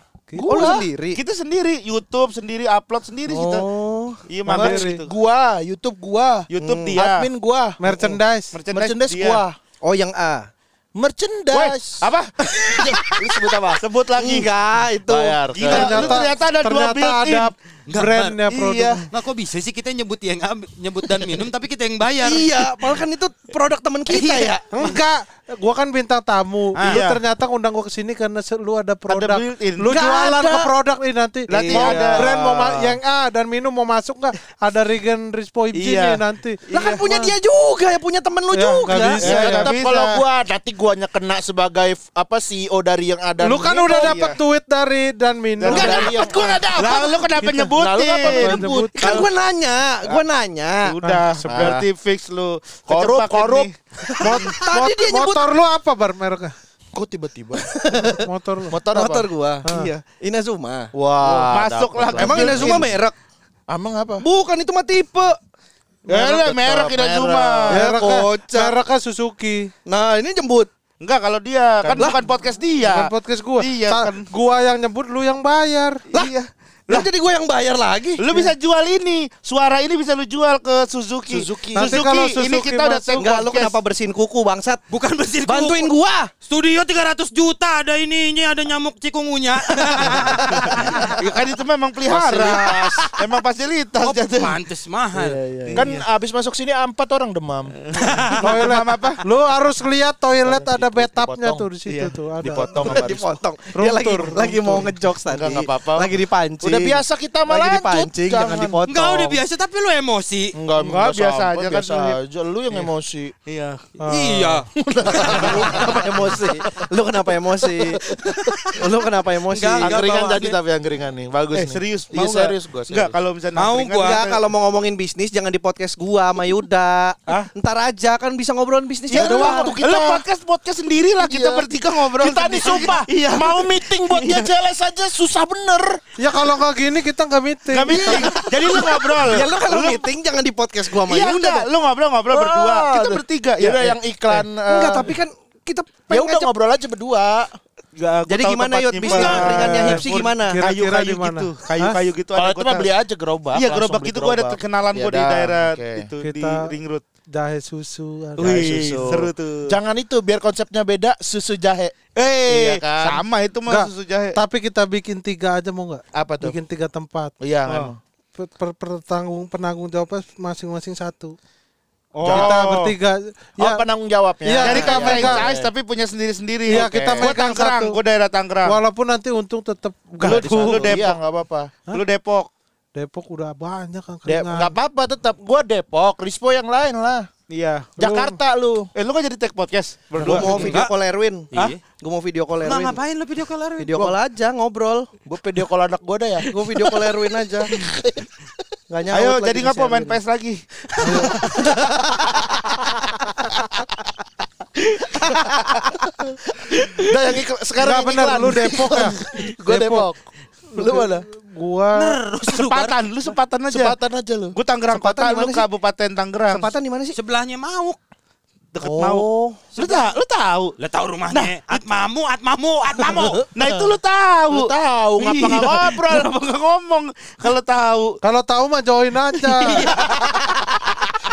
B: Oh, lu sendiri?
E: Kita sendiri, YouTube sendiri, upload sendiri kita.
C: Oh,
E: Iya, mampus
C: sendiri.
E: gitu.
D: Gua, YouTube gua.
E: YouTube
B: Hmm.
E: dia.
D: Admin gua.
C: merchandise.
D: Merchandise
E: dia.
D: gua.
B: Oh yang A.
E: Woi,
D: Merchandise.
E: apa?
D: Lu sebut apa?
E: Sebut lagi.
B: Enggak, itu.
D: Bayar.
E: Gila, ternyata,
C: Ternyata-
E: ternyata ada dua
C: Ternyata
E: built-in.
C: ada
A: Nggak,
C: brandnya
A: Bar.
C: produk.
A: Nah kok bisa sih kita nyebut yang ngambil- nyebut dan minum tapi kita yang bayar.
B: Iya, padahal kan itu produk teman kita ya.
C: Enggak, gua kan bintang tamu.
E: Ah,
C: lu
E: iya.
C: ternyata ngundang gua ke sini karena se- lu ada produk.
E: built-in.
C: Lu
B: Nggak
C: jualan
B: ada.
C: ke produk nih nanti.
E: Nanti
C: mau
E: ada.
C: brand mau ma- yang A dan minum mau masuk enggak? Ada Regen Rispo Ibji
E: Iya.
C: nih nanti.
B: Lah kan punya dia juga, ya punya temen lu
C: Ya,
B: juga.
C: nggak bisa.
D: Ya,
E: Iya,
D: tetap
E: bisa.
D: kalau gua nanti guanya kena sebagai f- apa CEO dari yang ada.
C: Lu kan
D: ini
C: udah
D: dong.
C: dapet tweet dari dan minum.
B: Enggak
D: Dari
B: dapet,
D: yang-
B: gua enggak dapet.
E: Lalu lu kenapa
B: Gitu.
D: Lalu apa
E: nyebutin?
C: Nyebutin.
D: nyebut?
B: Kan gua nanya, gua nanya.
E: Udah, berarti fix
D: Ah.
E: lu.
D: Korup,
E: Kejebak
D: korup.
E: ini.
C: Mot-
B: Tadi dia nyebut-
C: motor lu apa bar mereknya?
D: Kok tiba-tiba?
C: Motor lu.
D: Motor apa?
B: Motor gua. Iya, Inazuma.
D: Wah,
E: Oh, Masuk
D: dapet
E: lah.
D: lagi.
B: Emang Inazuma merek?
D: Emang apa?
B: Bukan itu mah tipe.
E: Ya
D: Merek
E: lah,
D: tetap,
E: merek tidak
D: merek.
E: cuma.
C: Mereknya,
B: kocak.
C: mereknya Suzuki.
B: Nah, ini jembut.
E: Enggak kalau dia kan bukan podcast
C: Bukan
E: dia.
C: podcast gua.
E: Iya,
C: Ta-
E: kan.
C: Gua yang nyebut lu yang bayar.
B: Lah, iya. Lah jadi gua yang bayar lagi.
E: Lu bisa jual ini, suara ini bisa lu jual ke Suzuki.
D: Suzuki.
C: Nanti
E: Suzuki,
C: kalau
E: ini
C: Suzuki
E: kita udah
C: masuk-
E: take
B: Enggak, lu
E: podcast.
B: kenapa bersihin kuku bangsat?
A: Bukan bersin kuku.
B: Bantuin gua.
A: Studio 300 juta ada ininya ada nyamuk cikungunya. Nah,
E: Ya kan itu memang pelihara. Emang fasilitas
A: Oh,
E: jatuh.
A: pantes mahal.
D: Kan abis masuk sini empat orang demam.
C: toilet apa? Lu harus lihat toilet ada bathtubnya
D: dipotong.
C: tuh di situ
D: Iya.
C: tuh ada.
D: Dipotong sama Rizko.
B: Dipotong. Dia lagi
C: Runtur,
B: lagi mau ngejokes tadi.
D: Enggak, enggak apa-apa.
B: Lagi dipancing.
D: Udah biasa kita malah
B: Lagi
D: lanjut.
B: dipancing, jangan, dipotong.
A: Enggak udah biasa tapi lu emosi.
D: Enggak,
E: Enggak, biasa
D: sampai,
E: aja kan
D: biasa
E: lu-
D: aja. Lu yang emosi.
E: Iya.
A: Iya.
B: Lu kenapa emosi? Lu kenapa emosi? Lu kenapa emosi?
A: Enggak, enggak.
D: Angkeringan
A: bawaannya.
D: jadi tapi angkeringan nih. Bagus
E: Eh
D: nih.
E: serius,
D: Iya
E: mau
D: serius
E: nggak?
D: gua.
E: Enggak
D: serius.
E: kalau misalnya
A: Mau
E: angkringan
A: gua.
E: kan-
B: Enggak, kalau mau ngomongin bisnis jangan di podcast gua sama Yuda. Ntar aja kan bisa ngobrolin bisnis
D: Ya,
B: ya
D: lu
B: doang.
D: waktu kita-
E: Lu podcast podcast sendiri lah kita
D: Iya.
E: bertiga ngobrol.
D: Kita nih
E: sendiri.
D: sumpah
E: Iya.
D: mau meeting buat dia jelas aja susah bener.
C: Ya kalau nggak kalau gini kita nggak meeting.
E: Gak meeting. Jadi lu ngobrol.
B: Ya lu kalau meeting jangan di podcast gua sama ya
E: Iya
B: Yunda
E: enggak,
B: dong.
E: lu ngobrol-ngobrol
D: Oh,
E: berdua. Kita
D: aduh.
E: bertiga.
D: Ya
E: Ya
D: udah yang iklan
B: Enggak,
D: eh,
B: tapi kan kita
D: ya
B: pengen
D: udah
B: ngajak-
D: ngobrol aja berdua.
B: Jadi gimana Yud? Bisnis ringannya hipsi gimana?
C: Kira-kira
E: Kayu-kayu
C: di mana?
E: gitu. Kayu-kayu gitu.
D: Kalau
E: ada
D: itu
E: gua
D: mah
E: tahu.
D: beli aja gerobak.
E: Iya
D: langsung
E: gerobak
D: beli
E: gitu gue ada
D: gerobak.
E: kenalan
D: Ya
E: gue di
D: dah,
E: daerah
D: oke.
E: itu di
C: Kita-
E: ring road.
C: Jahe susu. ada.
D: Wih,
E: Wih,
D: susu.
E: seru tuh.
D: Jangan itu biar konsepnya beda susu jahe. Iya
E: Eh,
D: kan?
E: sama itu
C: Nggak.
E: mah susu jahe.
C: Tapi kita bikin tiga aja mau nggak?
D: Apa tuh?
C: Bikin tiga tempat.
D: Iya
C: Oh.
D: memang.
C: Per, per- pertanggung penanggung jawabnya masing-masing satu.
E: Oh.
C: Kita bertiga.
D: Oh penanggung jawabnya.
C: Iya,
E: Jadi
C: Iya,
E: kayak
C: iya, iya.
E: franchise tapi punya sendiri-sendiri.
C: Iya,
E: Oke.
C: kita
E: Gua
C: megang
E: Tangerang,
C: satu.
E: gue daerah Tangerang.
C: Walaupun nanti untung tetap
E: Lu-
C: gaduh.
E: lu Depok.
D: Iya nggak apa-apa.
E: Lu Depok.
C: Depok udah banyak kan
D: De-
C: keringan.
D: nggak apa-apa tetap. Gua Depok, Rispo yang lain lah.
E: Iya.
D: Jakarta lu.
E: Eh lu kan jadi tag podcast
B: Gua
E: berdua.
B: mau video
A: Enggak.
B: call Erwin. Iya.
A: Hah?
B: Gua mau video call
A: Nah
B: Erwin.
A: ngapain lu video call Erwin?
B: Video call aja ngobrol.
D: Gue video call anak gue dah ya.
B: Gua video call Erwin aja. Enggak nyaut
E: Ayo
B: lagi
E: jadi
B: nih
E: ngapa
B: si
E: main
B: Erwin.
E: PS lagi?
D: Udah yang iklan sekarang
C: Nggak
D: yang
C: benar
D: iklan.
C: lu Depok ya.
D: Gue Depok. Lu mana?
C: Gua
E: Sepatan, lu sepatan aja.
D: Sepatan aja lu.
E: Gue Tangerang
B: Sepatan
E: Kota,
B: di
E: lu
B: mana sih?
E: Kabupaten Tangerang.
B: Tempatan di mana sih?
A: Sebelahnya mau.
E: Deket mau.
C: Oh.
E: Lu tahu, lu tahu.
A: Lah tahu rumahnya. Atmamu, Atmamu, Atmamu.
E: Nah itu lu tahu.
D: Lu tahu
E: Ngapa
D: ngapa
E: nggak
D: ngapa?
E: ngobrol, ngapa nggak ngomong? Kalau tahu.
C: kalau tahu mah join aja.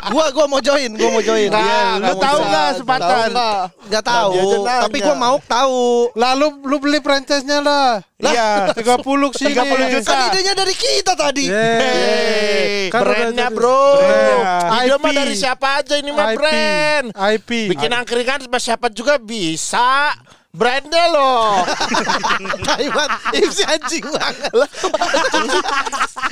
B: Gua gua mau join, gua mau join.
D: Nggak,
B: Iya,
E: lu
D: nggak
E: tahu
D: usah.
E: nggak sepatan?
D: Tahu nggak?
B: Enggak tahu,
D: Tadi aja nanya.
B: tapi gua mau tahu.
C: Lalu lu beli franchise-nya lah.
E: Iya,
C: 30 sini.
E: 30 juta.
B: Kan idenya dari kita tadi.
C: Yeay. Kan udah
D: Brandnya
C: jadi-
D: bro.
C: Brandnya.
D: Ide mah
C: IP.
D: dari siapa aja ini mah
C: IP.
D: brand.
C: IP.
D: Bikin angkringan sama siapa juga bisa. Brandnya loh.
B: Taiwan, isi anjing banget.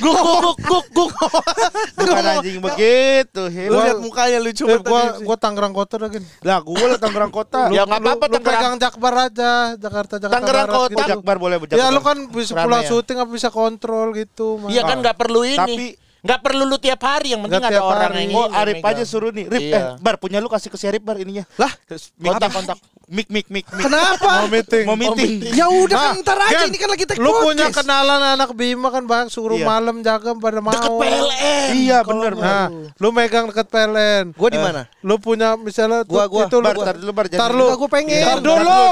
D: Guk guk guk guk.
E: Bukan anjing begitu. Hil.
B: Lu lihat mukanya lucu banget.
C: Eh, gua
B: tadi.
C: gua Tangerang Kota lagi.
E: Lah gue lah Tangerang Kota.
D: Ya nggak apa-apa
C: Lu
D: Tangerang.
C: pegang Jakbar aja, Jakarta Jakarta
D: Tangerang
C: Barat
D: Kota.
C: gitu.
E: Jakbar boleh
C: Ya
E: Jakbar.
C: lu kan bisa
D: Rame
C: pulang
D: ya.
C: syuting apa bisa kontrol gitu. Mas.
D: Iya kan nggak perlu ini.
E: Tapi-
D: nggak perlu lu tiap hari yang penting
C: Nggak
D: ada
C: tiap
D: orang
C: hari.
D: yang
E: Oh
D: ini,
E: Arif
D: yang
E: aja
D: megang.
E: suruh nih. Rip,
D: Iya.
E: eh, Bar punya lu kasih ke si Arif Bar ininya.
B: Lah,
D: kontak kontak.
E: Mik mik mik mik.
B: kenapa?
C: mau meeting.
E: Mau meeting.
B: Ya udah kan
C: Ah,
B: ntar aja
C: Gen,
B: ini kan lagi tag
C: Lu punya
B: podcast.
C: kenalan anak Bima kan banyak suruh
E: Iya.
C: malam jaga pada mau.
D: Deket PLN.
E: Iya bener.
C: Nah, lu megang deket PLN. Eh,
B: Gua di mana?
C: Lu punya misalnya
B: Gua- gua.
C: itu lu
E: Bar, tar dulu bar.
C: Tar
E: jadi-
C: lu.
B: Enggak, gua pengen.
C: Ntar dulu.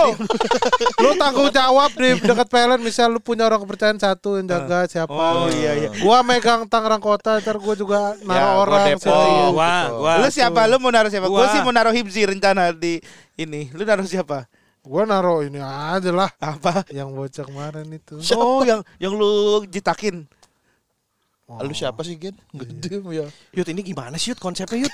C: lu tanggung jawab di dekat PLN misal lu punya orang kepercayaan satu yang jaga siapa.
E: Oh iya iya.
C: Gua megang Tangerang Kota, ntar gua juga naruh
D: gua
C: orang. iya.
D: Depok.
C: situ.
D: Oh,
A: Gua,
D: gitu.
A: gua.
E: Lu siapa? Lu mau naruh siapa?
A: Gua.
E: Gue sih mau naruh Hibzi rencana di ini. Lu naruh siapa?
C: Gua naruh ini aja lah
E: Apa?
C: yang bocah kemarin itu.
E: Oh yang yang lu jitakin.
D: Lu siapa sih Gen? Gede ya.
B: Yud ini gimana sih Yud konsepnya Yud?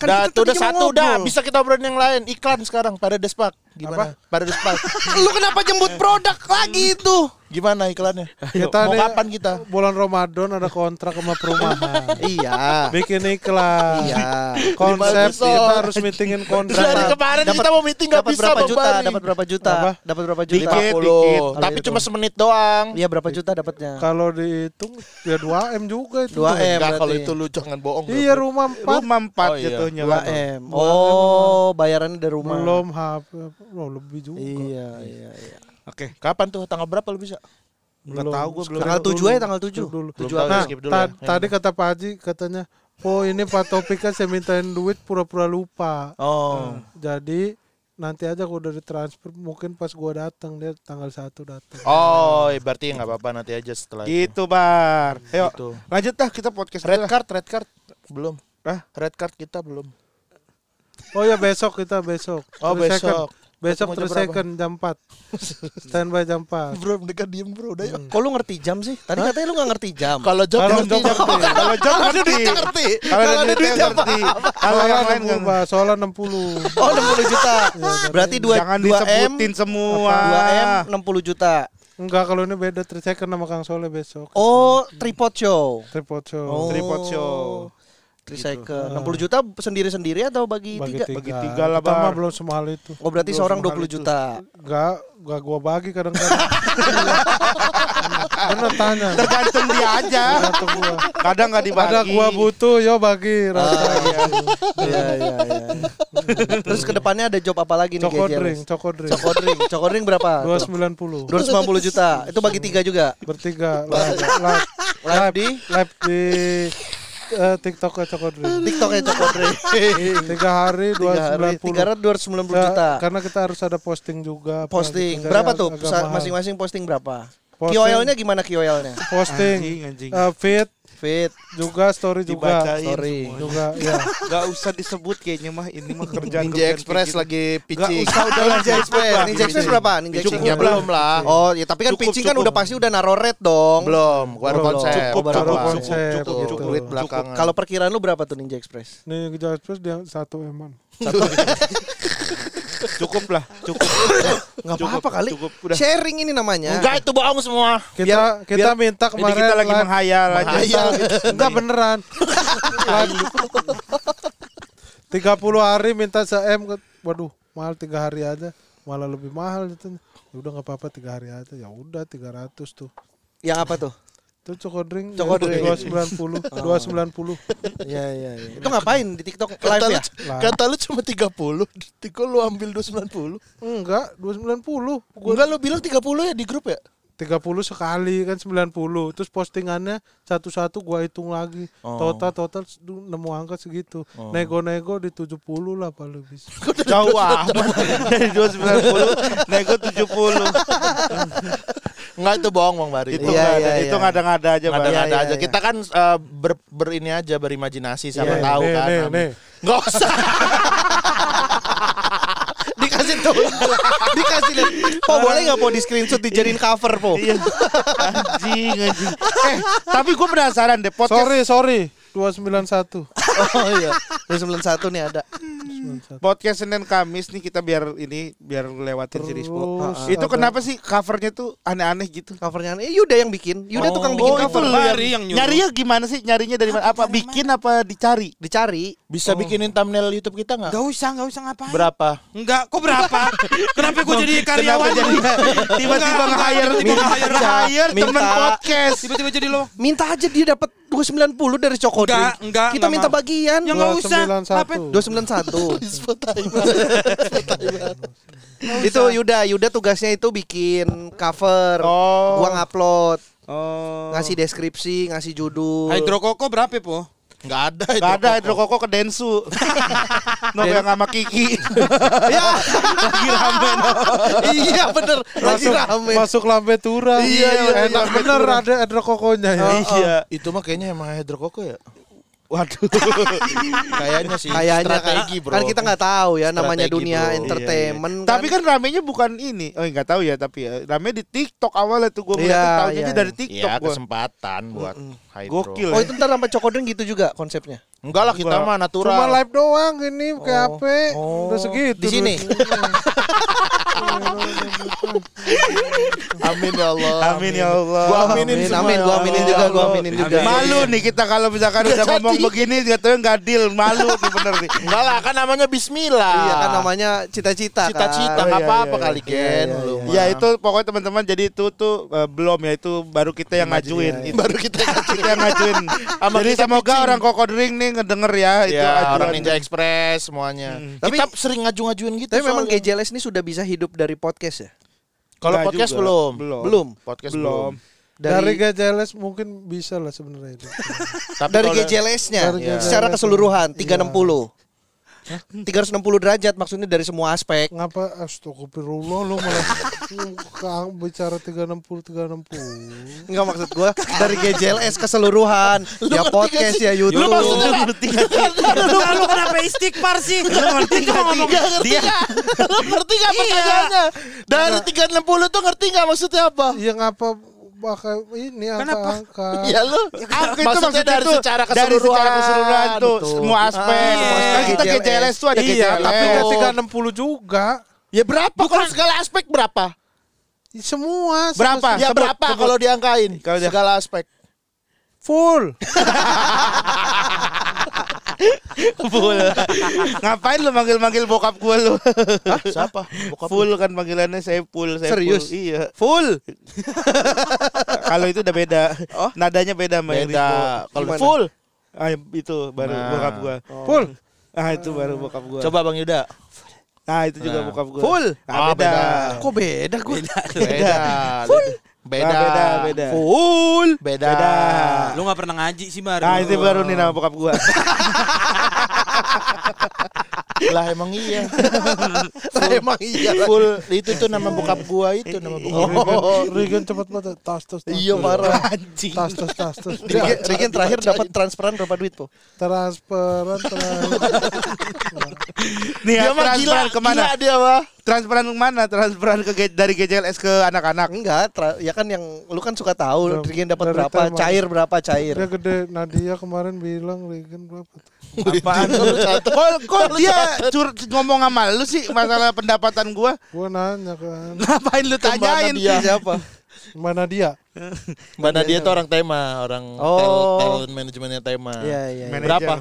B: kan
D: Dah, tuh
B: tadi
D: udah
B: mau
D: satu dah,
B: ngobrol.
D: bisa kita obrolin yang lain. Iklan sekarang pada Despak. Gimana? Pada Despak.
B: Lu kenapa jemput produk lagi itu?
D: Gimana iklannya?
C: Kita
D: Mau
C: nih-
D: kapan kita?
C: Bulan Ramadan ada kontrak sama perumahan.
B: Iya.
C: Bikin iklan.
B: Iya.
C: Konsep
D: Lima besok.
C: kita harus meetingin
D: Dari
C: kontrak.
D: kemarin
B: Dapat-
D: kita mau meeting nggak
B: dapat
D: bisa
B: berapa
D: Bang
B: juta?
D: Bari.
B: Dapat berapa juta? Dapat berapa juta?
E: Dikit, dikit.
D: 10. Tapi cuma semenit doang.
B: gitu. Iya berapa juta dapatnya?
C: Kalau dihitung ya 2 m juga itu.
B: 2M
D: Enggak kalau
B: berarti.
D: itu lu jangan bohong.
C: Iya rumah 4
E: Rumah empat
D: Oh, iya.
E: jatuhnya.
B: 2M. Oh, bayarannya dari rumah.
C: belum HP, oh, lebih juga.
B: Iya, iya, iya.
E: Oke.
D: Kapan tuh? Tanggal berapa lu bisa?
E: Nggak
C: Belum.
E: tahu gue belum.
B: Tanggal
C: Dulu,
B: 7 aja
C: dulu,
B: tanggal 7.
C: dulu.
B: 7
D: Belum tahu.
B: April.
C: Nah,
D: skip dulu
C: ta-
D: ya. Ya.
C: tadi kata Pak Haji katanya, "Po ini Pak Topik kan saya mintain duit pura-pura lupa." Hmm.
D: Oh.
C: Jadi nanti aja gua udah ditransfer, mungkin pas gua datang dia tanggal 1 datang.
D: Oh, iya, berarti nggak apa-apa nanti aja setelah itu.
E: Gitu bar. Ayo.
D: Gitu.
E: Lanjut dah kita podcast
D: Red
E: dulu lah.
D: card, red card belum.
E: Hah?
D: Red card kita belum.
C: Oh ya besok kita besok.
D: Oh,
C: Three second.
D: besok. Ketemu jam
C: Besok terus
D: berapa?
C: second jam 4. Standby jam 4.
D: Bro, mereka diem bro, udah yuk.
B: Kok lu ngerti jam sih? Tadi katanya lu gak ngerti jam.
D: Kalau job
C: Kalau
D: nanti-
C: job ngerti.
E: Kalau John ngerti.
B: ngerti.
E: Kalau ada duit ngerti. Kalau
C: Ah, Soalnya
E: yang lain nggak
C: 60, Pak. Soalnya 60.
B: Oh, 60 juta. Berarti 2
E: Jangan disebutin semua.
B: 2M 60 juta.
C: Enggak, kalau ini beda Three second sama Kang Soleh besok.
B: Oh, tripod show.
C: Tripod show.
B: Oh.
E: Tripod show.
B: recycle. 60 juta sendiri-sendiri atau bagi, tiga?
E: Bagi tiga lah,
C: Kita mah
E: Bar.
C: belum semahal itu.
B: Oh berarti
C: Belum
B: seorang
C: semahal
B: 20
C: itu.
B: juta.
C: Enggak, enggak gua bagi kadang-kadang. Bener tanya.
E: Tergantung dia aja.
C: Tergantung gua.
E: Kadang nggak dibagi.
C: Ada gua butuh, yo bagi.
B: Ah,
C: Rata.
B: Iya iya iya. Terus kedepannya ada job apa lagi nih
C: Coko
B: Kiai
C: drink,
B: James?
C: coko drink.
B: Coko drink. Coko drink berapa?
C: 290.
B: 290 juta. Itu bagi tiga juga.
C: Bertiga live, live, live di live di eh, TikTok ya coko drink.
B: TikToknya Coko drink.
C: Tiga hari
B: Tiga hari, 390
C: 290. Ya,
B: juta.
C: Karena kita harus ada posting juga. apa
B: Posting.
C: gitu. Jadi
B: Berapa
C: ag-
B: tuh?
C: agak
B: Sa-
C: mahal.
B: Masing-masing posting berapa?
C: Posting.
B: QOL-nya gimana QOL-nya?
C: Posting,
A: Anjing, anjing.
C: eh, feed
B: Fit,
C: juga, story juga,
E: Dibacain.
B: sorry.
C: juga. Ya.
A: Gak usah disebut kayaknya mah ini mah kerjaan
D: Ninja Express lagi pitching.
A: Gak usah udah
B: Ninja Express, Ninja Express berapa? Ninja Express
D: Pitchingnya
B: berapa?
D: belum lah.
B: Oh, ya tapi kan
A: Cukup,
B: pitching kan
A: cukup.
B: udah pasti udah naro red dong.
D: Belum, gua ada
C: Belum.
D: konsep.
B: Cukup,
D: Baru
B: cukup,
D: konsep.
C: cukup,
D: Tuh,
C: cukup.
D: duit belakangan.
B: Kalau perkiraan lu berapa tuh Ninja Express?
C: Nih Ninja Express dia satu eman.
A: cukup lah, cukup.
B: Enggak apa-apa kali.
A: Cukup udah.
B: Sharing ini namanya.
D: Enggak itu bohong semua.
C: Kita kita minta
A: Ini
C: kemarin
A: kita lagi
C: live-
A: menghayal aja.
C: Enggak, enggak beneran. Tiga puluh hari minta se M, waduh mahal tiga hari aja, malah lebih mahal itu. Ya udah nggak apa-apa tiga hari aja, ya udah tiga ratus tuh.
B: Yang apa tuh?
C: Itu coko drink,
B: Coko drink.
C: dua sembilan puluh, dua sembilan puluh.
B: Iya, iya, iya. Itu ngapain di TikTok
D: Kata
B: live
D: lu,
B: ya?
D: kata lu cuma 30, Tiko lu ambil 290.
C: Enggak, dua sembilan puluh.
D: Enggak lu bilang 30 ya di grup ya?
C: Tiga puluh sekali kan sembilan puluh. Terus postingannya satu-satu gua hitung lagi. Total total s- du- nemu angka segitu. Nego-nego di tujuh puluh lah paling bisa.
A: Jauh amat dari 290 nego 70.
D: Enggak itu bohong Bang Bari.
A: Itu
B: Iya,
A: nggak ada,
B: iya,
A: itu
B: iya.
A: ngada-ngada aja, Bang.
D: ada
B: Iya,
D: ada
B: iya,
D: aja.
B: iya.
D: Kita kan eh, ber, ber ini aja berimajinasi siapa
C: Nih,
D: tahu
C: nih,
D: kan.
C: nih,
D: Amin.
C: nih.
D: Nggak usah. Dikasih tuh.
B: Dikasih lihat. Po boleh nggak po di screenshot dijadiin cover po?
A: Iya. Anjing, anjing. Eh, tapi gue penasaran deh podcast
C: Sorry, sorry. 291.
B: Oh iya. 291 nih ada.
A: podcast Senin Kamis nih kita biar ini biar lewatin series
C: Terus
A: Itu
C: ada-
A: kenapa sih covernya tuh aneh-aneh gitu?
B: Covernya eh, Yuda yang bikin. Yuda tukang bikin
A: oh, itu
B: cover.
A: lu yang, nyarinya gimana sih? Nyarinya dari mana? Apa bikin apa dicari?
B: Dicari.
D: Bisa bikinin thumbnail YouTube kita nggak?
A: Gak usah, gak usah ngapain.
D: Oh. Berapa?
A: Enggak, kok berapa? Kenapa gue jadi karyawan? tiba-tiba nge-hire, tiba-tiba nge-hire, nge-hire temen
B: Minta.
A: podcast. Tiba-tiba jadi lo.
B: Minta aja dia dapat 290 dari Coko
A: Enggak,
B: Drink.
A: enggak,
B: Kita
A: enggak
B: minta
A: mau.
B: bagian.
A: Ya enggak usah. Apa?
C: 291.
B: 291.
D: Spotify.
B: itu Yuda, Yuda tugasnya itu bikin cover,
A: Oh.
B: gua ngupload,
A: Oh.
B: ngasih deskripsi, ngasih judul.
A: Hidrokoko berapa, Po?
D: Enggak ada itu.
A: Gak ada hidrokoko ke Densu. Nopo yang sama Kiki.
B: ya. Lagi rame. iya bener, lagi
C: Masuk,
B: rame.
C: masuk lambe tura.
A: Iya, iya,
C: enak
A: lambe
C: bener
A: tura.
C: ada ada kokonya ya.
D: Iya. Itu mah kayaknya emang hidrokoko ya.
A: Waduh.
D: Kayaknya sih.
B: Kayaknya kan,
D: strategi, bro.
B: kan kita nggak tahu ya namanya
D: Strategi,
B: dunia
D: bro. Iya,
B: entertainment.
A: Tapi kan ramenya bukan ini. Oh, enggak tahu ya, tapi ya. Rame di TikTok awalnya tuh gue
B: Iya,
A: melihat tahunya
B: iya,
A: aja dari
B: iya.
A: TikTok
D: Ya
A: gue.
D: kesempatan buat hydro.
A: Gokil. ya.
B: Oh itu ntar sampai cokodeng gitu juga konsepnya.
D: Enggak lah kita
A: Enggak.
D: mah
C: Cuma
D: natural.
C: live doang ini kayak HP. Udah segitu.
B: Di sini?
D: Amin ya Allah.
A: Amin ya Allah.
D: Gua aminin
B: amin,
D: semua
B: amin,
D: ya
B: gua
D: Allah.
B: aminin juga, gua aminin juga.
A: Malu nih kita kalau misalkan udah ngomong begini jatuhnya nggak deal, malu nih bener nih.
D: Enggak lah kan namanya bismillah.
B: Iya kan namanya cita-cita.
D: cita-cita
B: kan.
E: Oh,
D: enggak
A: iya,
D: apa-apa
A: iya,
D: kali Gen. lu mah.
A: Ya itu pokoknya teman-teman jadi itu tuh eh, belum ya itu baru kita yang ngajuin.
E: iya,
A: Itu
D: baru kita
A: kita yang ngajuin.
D: Sama
A: jadi
D: kita
A: semoga
D: pitching.
A: orang kokodring nih ngedenger ya,
E: Iya,
A: itu
D: ya,
A: ajuan.
D: orang Ninja Express semuanya.
B: Tapi-
D: kita sering ngaju-ngajuin Mm. gitu.
B: Tapi memang
D: soalnya.
B: GJLS ini sudah bisa hidup dari podcast ya?
D: kalau
A: Enggak
D: podcast
A: juga.
D: belum.
A: Belum.
B: Belum.
D: Podcast
A: belum.
D: belum.
C: Dari GJLS mungkin bisa lah sebenarnya itu.
D: Tapi
B: dari
D: kalau-
B: GJLS-nya
C: Dari
B: Iya.
C: GJLS.
B: secara keseluruhan 360. 360 derajat maksudnya dari semua aspek.
C: Ngapa astagfirullah lu malah Kang bicara 360 360.
B: Enggak maksud gua dari GJLS keseluruhan, ya podcast ya YouTube.
A: Lu maksudnya ngerti nggak sih? Lu lu kenapa istighfar sih? Lu ngerti nggak ngomong?
D: Nggak ngerti
A: Dia
D: nggak? Lu ngerti nggak pertanyaannya? Dari 360 tuh ngerti nggak maksudnya apa?
C: Iya ngapa pakai ini angka-angka.
D: Ya
C: Iya.
D: lu
A: Ah, itu maksudnya
D: maksudnya dari
A: tuh,
D: secara
A: dari
D: keseluruhan,
A: secara keseluruhan tuh
D: Betul.
A: semua aspek.
B: Ah,
A: Semua aspek.
B: iya.
A: kita
B: GJLS.
A: GJLS tuh ada
C: Iya, tapi
A: GJLS.
C: nggak 360 juga.
D: Ya berapa kalau segala aspek berapa?
C: Semua se-
A: Berapa?
D: Ya
A: Sebut,
D: berapa
A: sebut.
D: kalau diangkain?
A: Kalau dia-
D: segala aspek.
C: full.
E: Full. Ngapain lu manggil-manggil bokap gua lu?
D: Siapa? Bokap
E: Full kan panggilannya saya full, saya
B: Serius?
E: full. Iya.
B: Full.
E: Kalau itu udah beda.
B: Oh.
E: Nadanya beda sama yang
D: beda.
E: Rizko.
D: Kalau
B: Gimana?
D: full,
E: Ah, itu baru
D: Nah.
E: bokap gua.
B: Full.
E: Ah, itu baru bokap gua.
D: coba Bang Yuda.
E: Nah, itu juga
D: Nah.
E: bokap gua.
B: Full.
E: Ah,
D: Ah,
E: beda.
D: beda.
B: Kok beda gue?
D: Beda. Ah,
E: Beda.
D: Beda.
E: beda, beda.
B: Full.
D: Beda.
E: Beda.
A: Ah, Lu gak pernah ngaji sih baru.
E: Nah, itu baru nih nama bokap gua.
D: Lah emang iya.
B: Lah,
D: Oh,
B: Emang iya. lah.
D: Full itu tuh nama bokap gua Oh. itu nama
B: Oh.
D: bokap. gua.
C: Regen cepet banget tas tas. tas,
D: Iya
C: tas.
D: parah.
C: Tas tas tas tas.
B: Regen- Regen terakhir dapat transferan berapa duit po?
C: Transferan transferan.
E: Nih, ya,
D: Dia mah gila,
E: transferan kemana?
D: gila dia mah.
E: Transferan kemana? Transferan ke G- dari GJLS ke anak-anak.
B: Enggak, tra- ya kan yang lu kan suka tahu
C: Dari-
B: Regen dapat
C: dari
B: berapa,
C: Thermal.
B: cair berapa cair.
C: Dia gede. Nadia kemarin bilang Regen berapa? tuh?
E: Apaan? kok, kok dia cur- ngomong sama lu sih masalah pendapatan gua?
C: Gua nanya kan.
E: Ngapain lu tanyain?
D: dia?
B: Siapa?
C: Mana dia?
D: Mbak Nadia tuh orang tema, orang
B: Oh.
D: tel- talent manajemennya tema.
B: Iya iya. iya.
E: Manajer.
D: Berapa?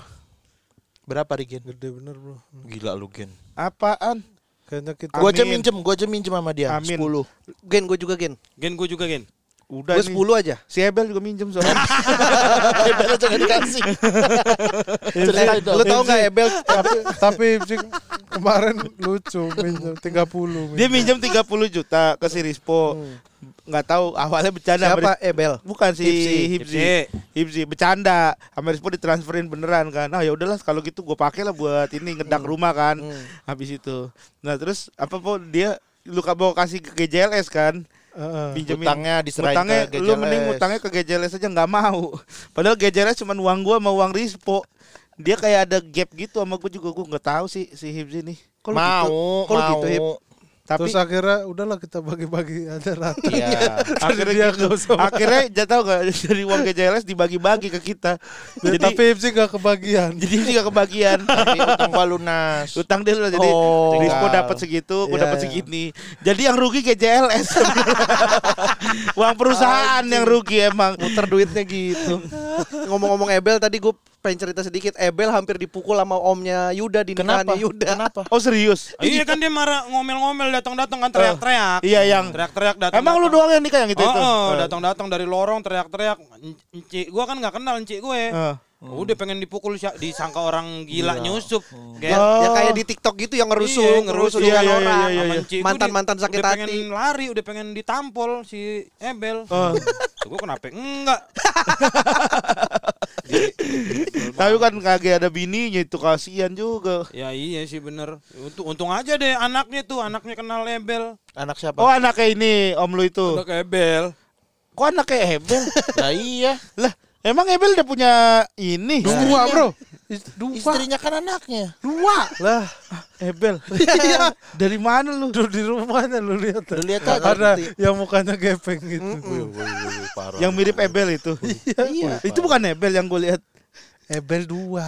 D: Berapa Rigen?
C: Gede bener bro.
D: Gila lu Gen.
E: Apaan?
C: Kayaknya kita.
D: Gua aja
E: Amin.
D: minjem, gua aja minjem sama dia.
E: Amin.
D: 10.
B: Gen gue juga gen.
A: Gen gue juga gen.
E: Udah
B: Gue
E: nih.
B: 10 aja.
E: Si Ebel juga minjem soalnya.
D: Daripada Iya, jangan dikasih. Iya, Cerita itu.
B: Lu tau gak Ebel?
C: tapi tapi Ipsy kemarin lucu minjem 30
E: dia
C: minjem.
E: minjem 30 juta ke si Rispo. Nggak tahu awalnya bercanda. sama
B: Siapa
E: Ris-
B: Ebel?
E: Bukan si
B: Hipsi.
E: Hipsi. Hipsi bercanda. Sama Rispo ditransferin beneran kan. Nah, ya udahlah kalau gitu gue pakai lah buat ini ngedak rumah kan. Habis itu. Nah, terus apa po dia lu ka- mau kasih ke GJLS kan?
C: Heeh.
E: Pinjemin.
D: Utangnya diserahin
E: Utangnya,
D: ke
E: lu
D: GJLS.
E: mending utangnya ke GJLS aja nggak mau. Padahal GJLS cuma uang gua sama uang Rispo. Dia kayak ada gap gitu sama gue juga gue nggak tahu sih si Hipsi nih.
B: Kalau
D: mau,
B: gitu-
D: mau.
B: kalau gitu, Hip.
E: Tapi
C: Terus akhirnya udahlah kita bagi-bagi aja rata.
D: Iya.
E: akhirnya
C: Dia
E: gitu.
C: nggak usah makan.
E: akhirnya jatah tau gak dari uang GJLS dibagi-bagi ke kita jadi
C: tapi Ipsy gak kebagian.
E: jadi juga kebagian
D: Tapi utang gua lunas.
E: utang dia lah jadi
D: Oh.
E: Rispo dapat segitu gue
B: Iya,
E: dapat
B: iya.
E: segini jadi yang rugi GJLS uang perusahaan yang rugi emang
B: Muter duitnya gitu. Ngomong-ngomong Ebel tadi gue pengen cerita sedikit. Ebel hampir dipukul sama omnya Yuda di nikahannya Yuda. Kenapa?
E: oh serius
A: Iya kan dia marah ngomel-ngomel datang-datang kan teriak-teriak.
E: iya yang
A: Teriak-teriak datang.
E: emang lu doang yang gitu? nikah yang itu
A: Oh,
E: itu Eh.
A: oh, datang-datang dari lorong teriak-teriak. "En- Enci, gua kan nggak kenal enci gue.
E: Eh.
A: Udah pengen dipukul sya- disangka orang gila nyusup. Kayak
E: Iya. Oh.
B: Yang Ya, kayak di TikTok gitu yang ngerusuh,
A: Iya,
B: ngerusuh
E: iya,
B: dengan
E: iya,
B: orang.
E: iya, iya, iya.
A: Sama Enci gua
B: Mantan-mantan
A: di-
B: sakit
A: udah
B: hati.
A: pengen lari, udah pengen ditampol si Ebel.
E: Oh.
A: Tuh, Gua kenapa? Enggak.
E: tapi kan kagak ada bininya itu kasihan juga
A: Ya iya sih bener. Untung, untung aja deh anaknya tuh, anaknya kenal Ebel.
D: Anak siapa?
E: oh anaknya ini om lu itu
A: Anak Ebel.
E: kok anaknya Ebel
D: Nah, iya.
E: lah emang Ebel udah punya ini Iya.
C: Dua bro. Is- Dua.
D: Istrinya kan anaknya.
E: Dua lah Ebel
B: Iya.
E: Dari mana lu?
C: Duduk di rumahnya lu lihat.
E: iya.
D: Lu lihat aja.
C: Ada yang mukanya gepeng gitu.
E: Yang mirip Ebel
A: Iya.
E: itu Itu bukan Ebel yang gue lihat
C: Ebel dua.